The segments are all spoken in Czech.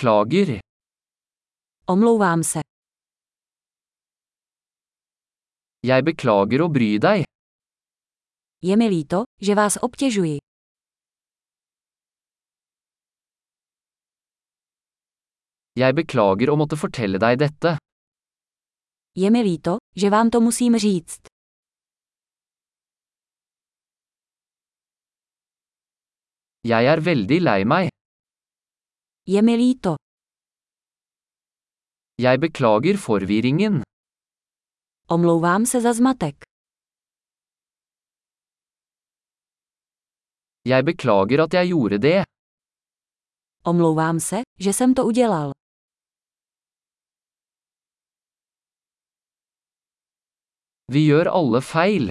Beklager. Omlouvám se. Jeg beklager å bry deg. Je mi líto, že vás obtěžuji. Jeg beklager å måtte fortelle deg dette. Je mi líto, že vám to musím říct. Jeg er veldig lei meg. Je mi líto. Jeg beklager forvirringen. Omlouvám se za zmatek. Jeg beklager at jeg gjorde det. Omlouvám se, že jsem to udělal. Vi gjør alle feil.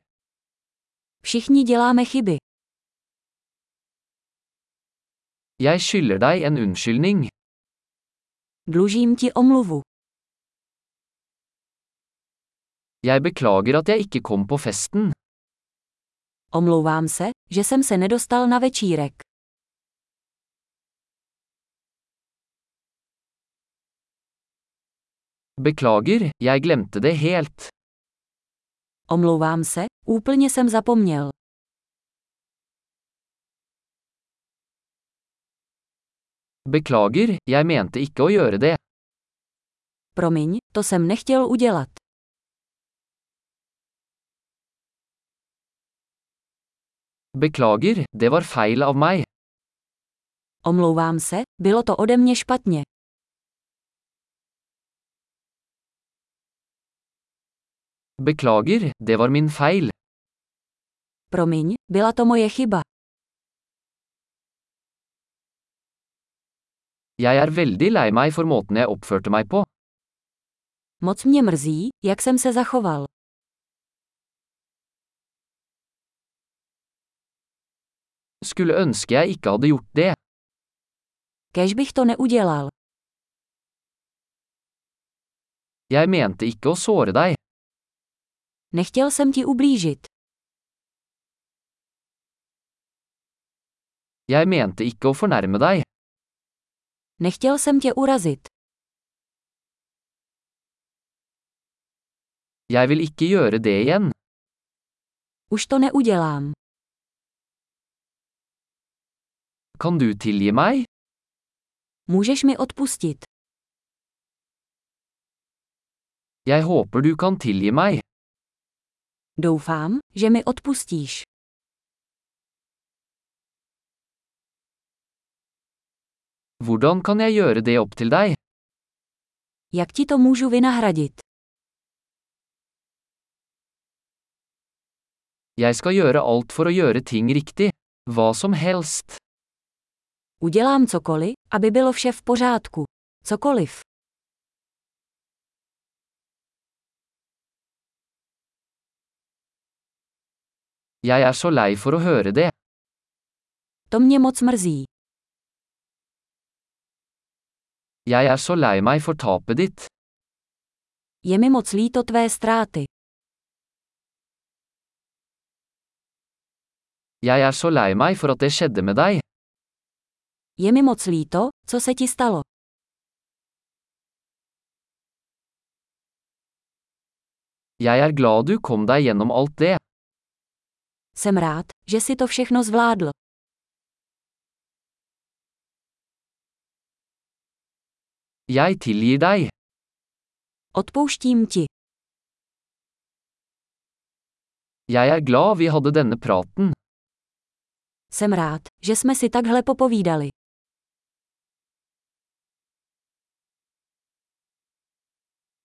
Všichni děláme chyby. Jeg skylder deg en unnskyldning. Dlužím ti omluvu. Jeg beklager at jeg ikke kom på festen. Omlouvám se, že jsem se nedostal na večírek. Beklager, jeg glemte det helt. Omlouvám se, úplně jsem zapomněl. Beklager, jeg mente ikke å gjøre det. Promiň, to jsem nechtěl udělat. Beklager, det var feil av meg. Omlouvám se, bylo to ode mě špatně. Beklager, det var min feil. Promiň, byla to moje chyba. Jeg er veldig lei meg for måten jeg oppførte meg på. Moc mě mrzí, jak jsem se zachoval. Skulle ønske jeg ikke hadde gjort det. Kež bych to neudělal. Jeg mente ikke å såre deg. Nechtěl jsem ti ublížit. Jeg mente ikke å fornærme deg. Nechtěl jsem tě urazit. Jeg vil ikke gjøre det igjen. Už to neudělám. Kan du tilgi meg? Můžeš mi odpustit. Jeg håper du kan tilgi meg. Doufám, že mi odpustíš. Hvordan kan jeg gjøre det opp til deg? Jak ti to můžu vynahradit? Jeg skal gjøre alt for å gjøre ting riktig. Hva som helst. Udělám cokoliv, aby bylo vše v pořádku. Cokoliv. Jeg er så lei for å høre det. To mě moc mrzí. Jeg er så lei meg for tapet ditt. Je mi moc líto tvé ztráty. Jeg er så lei meg for at det skjedde med deg. Je mi moc líto, co se ti stalo. Jeg er glad du kom deg gjennom alt det. Jsem rád, že si to všechno zvládl. Jeg tilgir deg. Odpouštím ti. Jeg er glad vi hadde denne praten. Jsem rád, že jsme si takhle popovídali.